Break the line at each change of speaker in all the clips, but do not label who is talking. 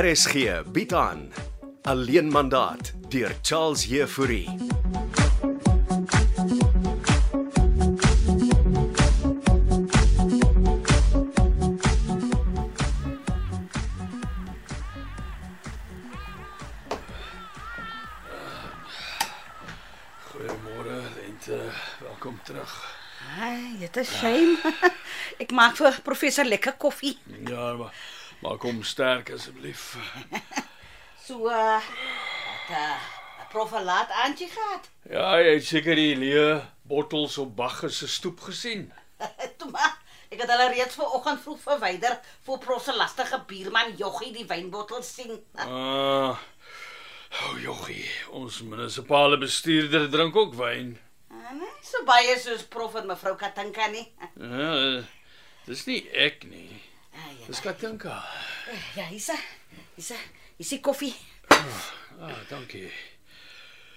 RSG bied aan Alleen mandaat deur Charles Heffouri.
Goeiemôre Lente, welkom terug.
Ai, dit is shame. Ek maak vir professor lekker koffie.
Ja, maar maak hom sterk asseblief.
So uh wat uh prof het laat aantjie gehad.
Ja, jy het seker die leë bottels op Bagger se stoep gesien.
Toe maar ek het hulle reeds vanoggend vroeg verwyder voor prof se lastige buurman Joggie die wynbottel sien.
Ah. O, oh, joggie, ons munisipale bestuurder drink ook wyn.
Ah, Nee, so baie soos prof en mevrou Katinka nie.
Ja, dis nie ek nie.
Ai, Ah, ja,
Dis Katinka.
ja, hier's hy. Hier's hy. Hier's die koffie.
Ah, dankie.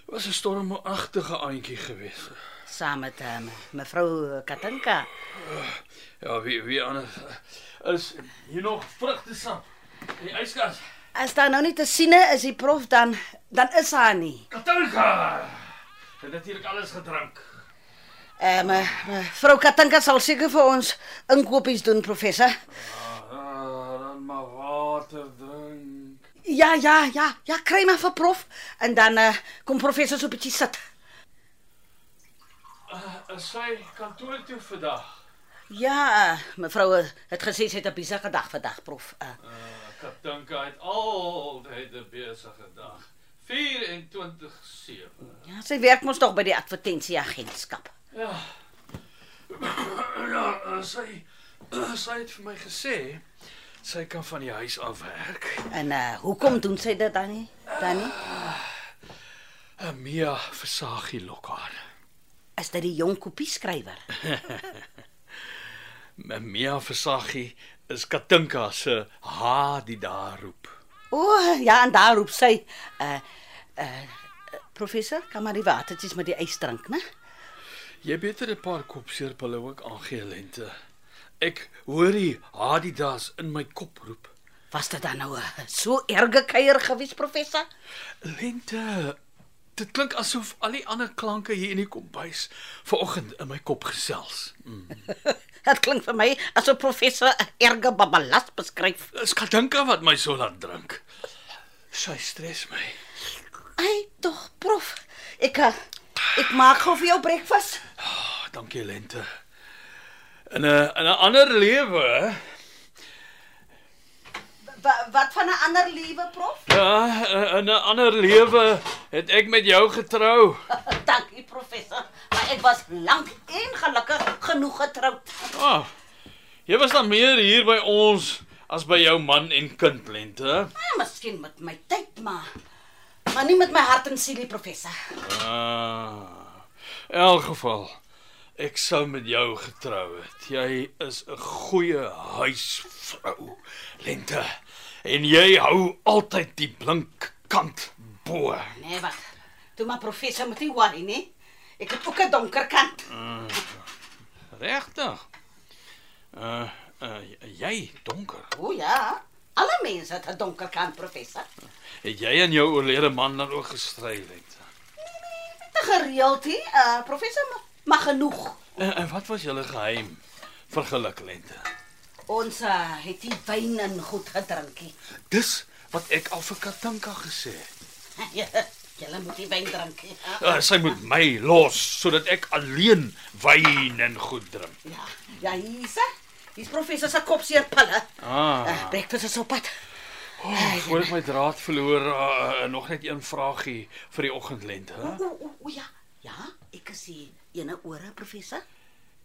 Was 'n stormagtige aandjie geweest.
Saam met um, mevrou Katinka.
Ja, wie wie anders is hier nog vrugtesap in die yskas.
As daar nou nie te siene is die prof dan dan is haar nie.
Katinka. Het natuurlik alles gedrink.
Ehm um, mevrou Katinka sal seker vir ons inkopies doen professor.
Ah, dan maar water drink.
Ja, ja, ja, ja, kry maar vir prof en dan uh, kom professor so 'n bietjie sit.
Uh, is sy kantoor toe vandag?
Ja, eh, mevrou eh, het gesê sy het 'n besige dag vandag, prof. Uh,
Uh, Katinka het altyd 'n besige dag. 24/7.
ja, sy werk mos nog by die advertensieagentskap.
Ja. ja, uh, sy eh, sy het vir my gesê sy kan van die huis af werk.
En uh, hoekom doen sy dit dan nie? Dan nie?
Uh, Mia versagie lokhaar.
Is dit die jong kopieskrywer?
Mia versagie is Katinka se ha die daar roep.
O, oh, ja, en daar roep sy uh uh professor, kan maar die watertjies met die ys drink, né?
Jy beter 'n paar kopseerpille ook aangee lente. Ek hoor die Adidas in my kop roep.
Was dit dan nou 'n so erge kuier gewees, professor?
Lente. Dit klink asof al die ander klanke hier in die kombuis vanoggend in my kop gesels.
Dit klink vir my asof professor 'n erge babalas beskryf.
Dis Katinka wat my so laat drink. Sy stres my.
Ai, tog, prof. Ek eh, ek maak gou vir jou breakfast.
Oh, dankie Lente. In 'n in 'n ander lewe,
Wa- Wat van 'n ander liewe prof?
ja, in 'n ander lewe het ek met jou getrou.
Dankie professor, maar ek was lank en gelukkig genoeg getroud.
Ah. Jy was dan meer hier by ons as by jou man en kind lente.
Ja, miskien met my tyd maar maar nie met my hart en siel, nie, professor.
Ah. In elk geval, ek sou met jou getrou het. Jy is 'n goeie huisvrou, lente. En jy hou altyd die blink kant bo.
Nee, wat? Toe maar professor moet nie worry nie. Ek het ook 'n donker kant.
Regtig? Uh, uh jy donker.
O ja, alle mense het 'n donker kant, professor.
Het jy en jou oorlede man dan ook gestry lente?
Te gereeld, hè? Uh, professor, maar, maar genoeg.
En, en Eh, wat was julle geheim vir geluk lente?
Ons uh, het die wyn en goed gedrinkie.
Dis wat ek al vir Katinka gesê het.
Julle moet die wyn drink. ja.
Uh, sy moet my los sodat ek alleen wyn en goed drink.
Ja, ja, hier is hy. Hier is professor se kopseerpille.
Ah.
Uh, breakfast is op pad.
Oh, voor ek my draad verloor, uh, nog net een vraagie vir die oggendlente. hè?
O, o, o ja. Ja, ek is hier. Ene ore professor.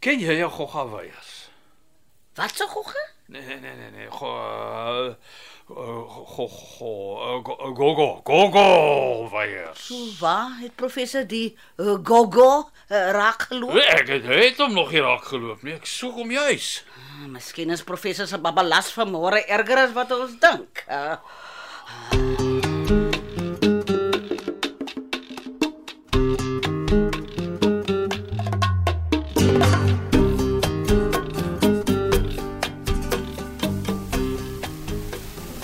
Ken jy jou gogga weiers?
Wat se gogge?
Nee nee nee nee nee. Go uh, go go uh, go go go go go weiers.
Waar het professor die uh, gogo uh, raak geloop?
Ek het, het hom nog hier raak geloop nie. Ek soek hom juis.
Uh, miskien is professor se babalas vanmôre erger as wat ons dink. Uh,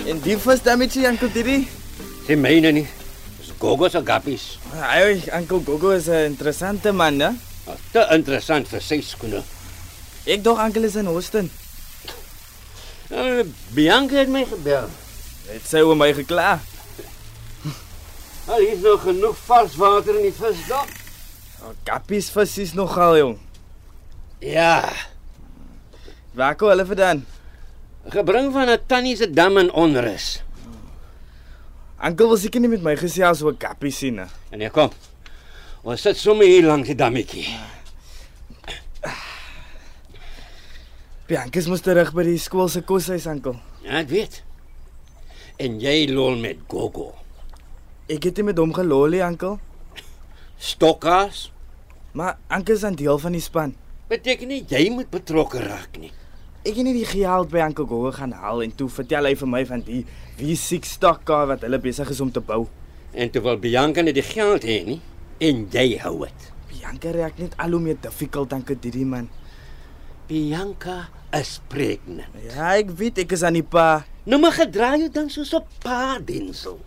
En Die first damage, Uncle Diddy.
Sê myne nie. Dis Gogo se gappies.
Ai, Uncle Gogo is 'n interessante man, né?
Nou, Te interessant vir sy skoene.
Ek dog Uncle is in Houston.
Uh, Bianca het my gebel.
Het sy oor my gekla.
Al is nog genoeg vars water in die visdam.
Kappies vis is nogal jong.
Ja,
Waar kom hulle vandaan?
gebring van 'n tannie se dam in onrus.
Uncle wil seker nie met my gesels oor kappies sien nie.
En hier kom. Ons sit sommer hier langs die dammetjie.
Bianca is mos terug by die skool se koshuis, Uncle.
Ja, ek weet. En jy lol met Gogo.
Ek het nie met hom gelolie, Uncle,
Stokkas
maar Uncle is 'n deel van die span.
beteken nie jy moet betrokke raak nie.
Ek het net die geld by Uncle Gogo gaan haal en toe vertel hy vir my van die V6 stokkaar wat hulle besig is om te bou.
En terwyl Bianca net die geld hê nie en jy hou dit.
Bianca reak net al hoe meer difficult Uncle Diddy man.
Bianca is pregnant.
Ja, ek weet ek is aan die pa.
Nou maar gedra jou dan soos op pa dinsel.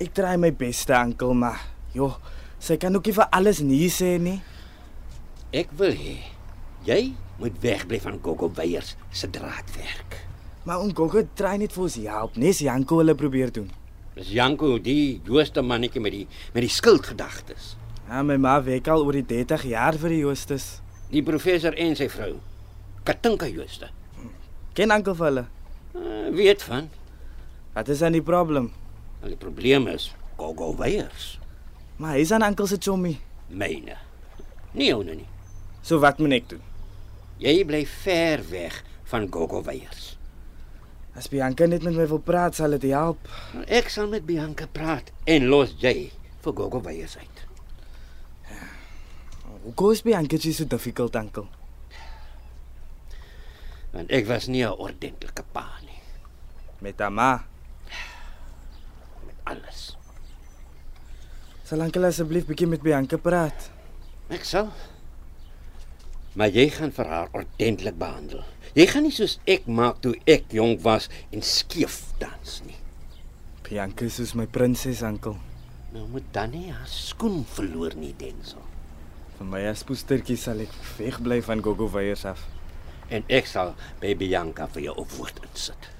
Ek try my bes te Uncle, maar joh, sy kan ook nie vir alles nee sê nie.
Ek wil hê jy moet wegbly van Gogo Weyers se draadwerk.
Maar oom Gogo try net vir ons help, nes Janko hulle probeer doen.
Dis Janko die jooste mannetjie met die met die skuldgedagtes.
Ja, my ma werk al oor die 30 jaar vir die Joostes.
Die professor en sy vrou. Katinka Jooste.
Ken Uncle vir hulle.
Uh, weet van.
Wat is dan die probleem?
Al die probleem is Gogo Weyers.
Maar hy's aan Uncle se chommy.
Myne. Nie joune nie.
So wat moet ek doen?
Jy bly ver weg van Gogo Weyers.
As Bianca net met my wil praat, sal dit help.
Nou, Ek sal met Bianca praat en los jy vir Gogo Weyers uit.
Hoekom is Bianca jy so difficult, Uncle?
Want ek was nie 'n ordentlike pa nie.
Met haar ma.
Alles.
Sal Uncle asseblief bietjie met Bianca praat?
Ek sal. Maar jy gaan vir haar ordentlik behandel. Jy gaan nie soos ek maak toe ek jonk was en skeef dans nie.
Bianca is soos my prinses, Uncle.
Nou moet dan nie haar skoen verloor nie, Denzel.
Vir my as poestertjie sal ek wegbly van Gogo Weyers af.
En ek sal by Bianca vir jou opwoord insit.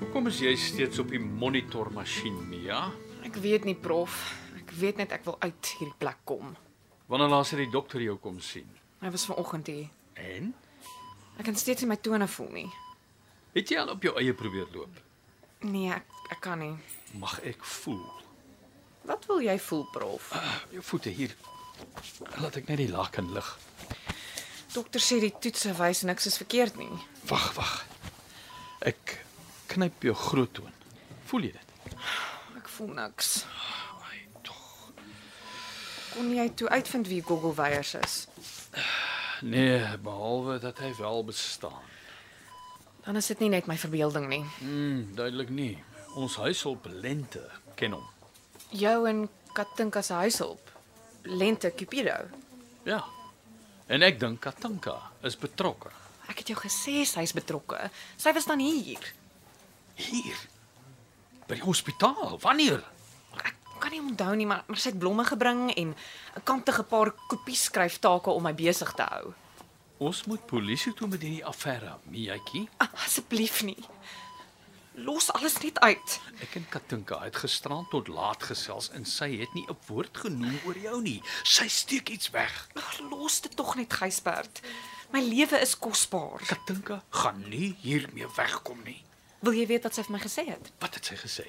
Hoekom is jy steeds op die monitormasjien, Mia?
Ek weet nie, prof. Ek weet net ek wil uit hierdie plek kom.
Wanneer laas het die dokter jou kom sien?
Hy was vanoggend hier.
En
Ek kan steeds nie my tone voel nie.
het jy al op jou eie probeer loop?
Nee, ek, ek kan nie.
Mag ek voel?
Wat wil jy voel, prof?
Jou voete hier. Laat ek net die laken lig.
Dokter sê die toetse wys niks is verkeerd nie.
Wag, wag. Ek knyp jou groot toon. Voel jy dit?
Ek voel niks.
Ai, Nee, tog.
Kon jy toe uitvind wie Gogo Weyers is?
Nee, behalwe dat hy wel bestaan.
Dan is dit nie net my verbeelding nie.
Mm, duidelik nie. Ons huishulp Lente ken hom.
Jou en Katinka se huishulp, Lente Cupido.
Ja. En ek dink Katanka is betrokke.
Ek het jou gesê sy's betrokke. Sy was dan hier.
Hier. By die hospitaal. Wanneer?
Ek kan nie onthou nie, maar, maar sy het blomme gebring en 'n kantige paar kopie skryftake om my besig te hou.
Ons moet polisie toe met hierdie affære, Mietjie.
Ah, Asseblief nie. Los alles net uit.
Ek en Katinka het gisteraan tot laat gesels en sy het nie 'n woord genoem oor jou nie. Sy steek iets weg.
Ag, Los dit tog net, Gysbert. My lewe is kosbaar.
Katinka gaan nie hiermee wegkom nie.
Wil jy weet wat sy vir my gesê het?
Wat het sy gesê?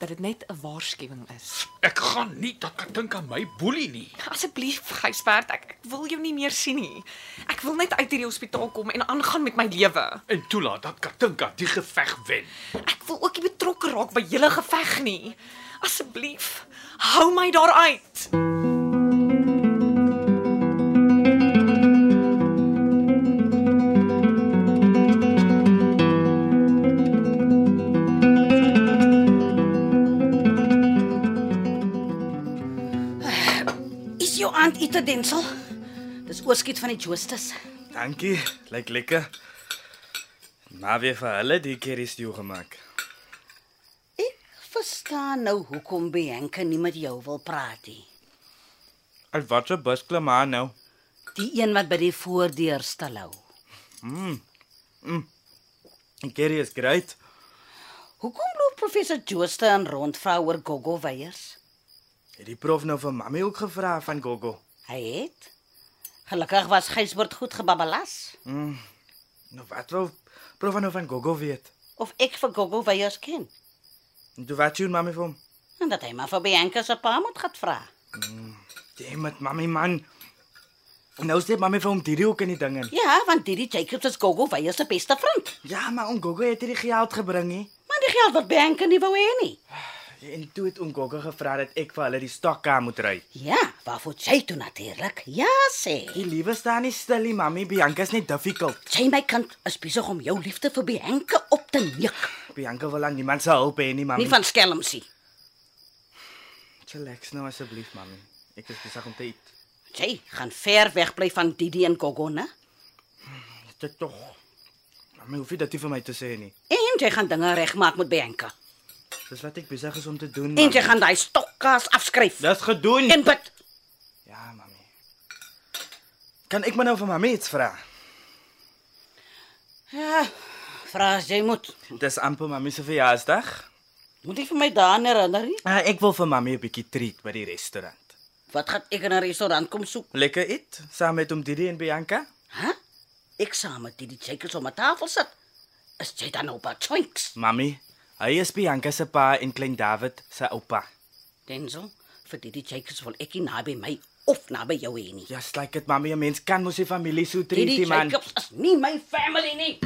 Dat dit net 'n waarskuwing is.
Ek gaan nie dat Katinka my boelie nie.
Asseblief, Gysbert, ek, ek wil jou nie meer sien nie. Ek wil net uit hierdie hospitaal kom en aangaan met my lewe.
En toelaat dat Katinka die geveg wen.
Ek wil ook nie betrokke raak by julle geveg nie. Asseblief, hou my daaruit.
Densel. Dis oorskiet van die Justus.
Dankie. Lyk lekker. Maar weer vir hulle die keer is jou gemaak.
Ek verstaan nou hoekom Bianca nie met jou wil praat nie.
Al wat se bus klim aan nou.
Die een wat by die voordeur stilhou.
Die keer is great.
Hoekom loop professor Justus en rondvra oor Gogo weiers?
Het die prof nou vir Mamy ook gevra van Gogo?
Hy het Gelukkig was Gysbert goed gebabbelas
Nou wat wou prof nou van Gogo weet?
of ek vir Gogo weiers ken
En toe wat doen Mamy vir hom?
en dat hy maar vir Bianca se pa moet gaan vra.
Damn it, Mamy man. En nou steek Mamy vir hom hierdie ook in die ding in.
Ja, want hierdie Jacobs is Gogo weiers se beste vriend.
Ja, maar om Gogo het hierdie geld gebring hè.
Maar die geld wat Bianca nie wou hê nie.
En toe het om Gogo gevra dat ek vir hulle die stokka moet ry.
Ja, waarvoor sy toe natuurlik. Ja sê.
Die liewe staan nie stil nie, Mamy. Bianca's net difficult.
Sy my kind is besig om jou liefde vir Bianca op te neek.
Bianca wil aan niemand se hulp hê nie, Mamy.
Nie van skelmsie.
Chillax nou asseblief, Mamy. Ek is besig om te eet.
Sy gaan ver weg bly van Didi en Gogo, né?
Dit tog. Mamy hoef nie dit vir my te sê nie.
En jy gaan dinge regmaak met Bianca.
Dis wat ek besig is om te doen.
En jy
Mamy.
gaan daai stokkaas afskryf.
Dis gedoen.
En bid.
Ja, Mamy. Kan ek maar nou vir Mamy iets vra?
Ja, vra as jy moet.
Dis amper Mamy se verjaarsdag.
Moet jy vir my daaraan herinner nie?
Uh, ek wil vir Mamy 'n bietjie treat by die restaurant.
Wat gaan ek in 'n restaurant kom soek?
Lekker eet saam met om Didi en Bianca.
Hæ? Ek saam met Didi Jacobs op 'n tafel sit. Is jy dan op 'n twinks?
Mamy, hy is Bianca se pa en klein David se oupa.
Denzel, vir Didi Jacobs wil ek nie naby my of naby jou hê nie.
Ja, slyk dit Mamy, 'n mens kan mos sy familie so treat,
Didi
die man.
Jacobs is nie my family nie.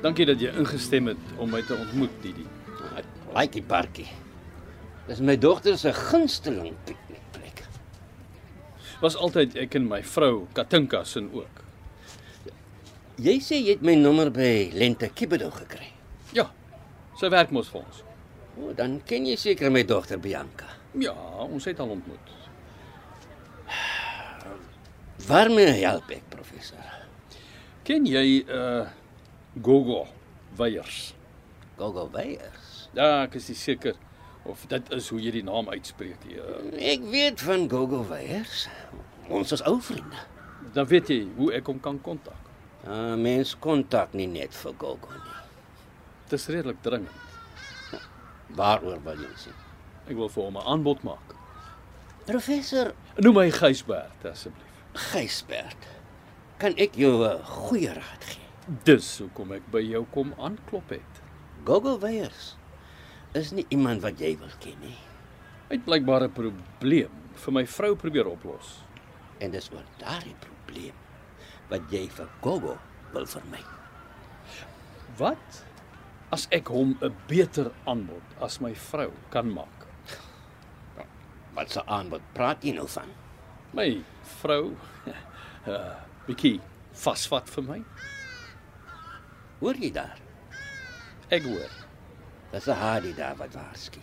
Dankie dat jy ingestem het om my te ontmoet, Didi.
Ek like die parkie. Dis my dogter se gunsteling piknikplek.
Was altyd ek en my vrou Katinka sin ook.
Jy sê jy het my nommer by Lente Kibedo gekry.
Ja. Sy werk mos vir ons.
O, dan ken jy seker my dogter Bianca.
Ja, ons het al ontmoet.
Waarmee help ek, professor?
Ken jy uh Gogo Weyers?
Gogo Weyers.
Ja, ek is nie seker of dit is hoe jy die naam uitspreek. nie. Uh,
Ek weet van Gogo Weyers. Ons is ou vriende.
dan weet jy hoe ek hom kan kontak.
Uh, mens kontak nie net vir Gogo nie.
Dit is redelik dringend.
Waaroor wil jy sê?
Ek wil vir hom 'n aanbod maak.
Professor
Noem my Gysbert asseblief.
Gysbert, kan ek jou 'n goeie raad gee?
Dis hoekom ek by jou kom aanklop het.
Gogo Weyers is nie iemand wat jy wil ken nie.
Hy het blykbaar 'n probleem vir my vrou probeer oplos.
En dis oor daardie probleem wat jy vir Gogo wil vermy.
Wat as ek hom 'n beter aanbod as my vrou kan maak?
Wat se aanbod praat jy nou van?
My vrou uh bietjie vasvat vir my.
Hoor jy daar?
Ek hoor.
Dis 'n haardie daar wat waarsku.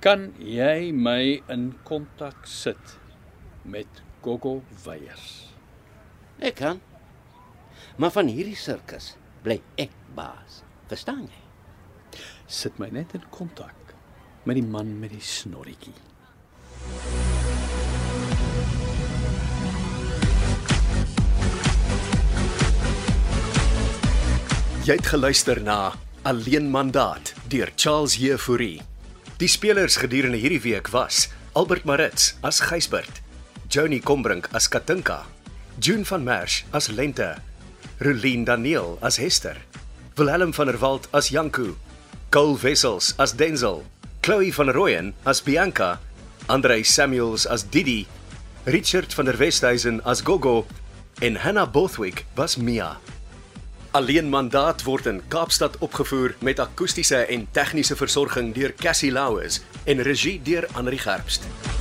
Kan jy my in kontak sit met Gogo Weyers?
Ek kan. Maar van hierdie sirkus bly ek baas. Verstaan jy?
Sit my net in kontak met die man met die snorretjie.
Jy het geluister na Alleen Mandaat deur Charles Jefouri. Die spelers gedurende hierdie week was Albert Maritz as Gysbert, Johnny Combrink as Katinka, June van Merch as Lente, Rulien Daniel as Hester, Willem van der Walt as Janku, Cole Wessels as Denzel, Chloe van Rooyen as Bianca, Andrei Samuels as Didi, Richard van der Westhuizen as Gogo en Hannah Bothwick was Mia. Alleen mandaat word in Kaapstad opgevoer met akoestiese en tegniese versorging deur Cassie Louws en regie deur Anri Gerbst.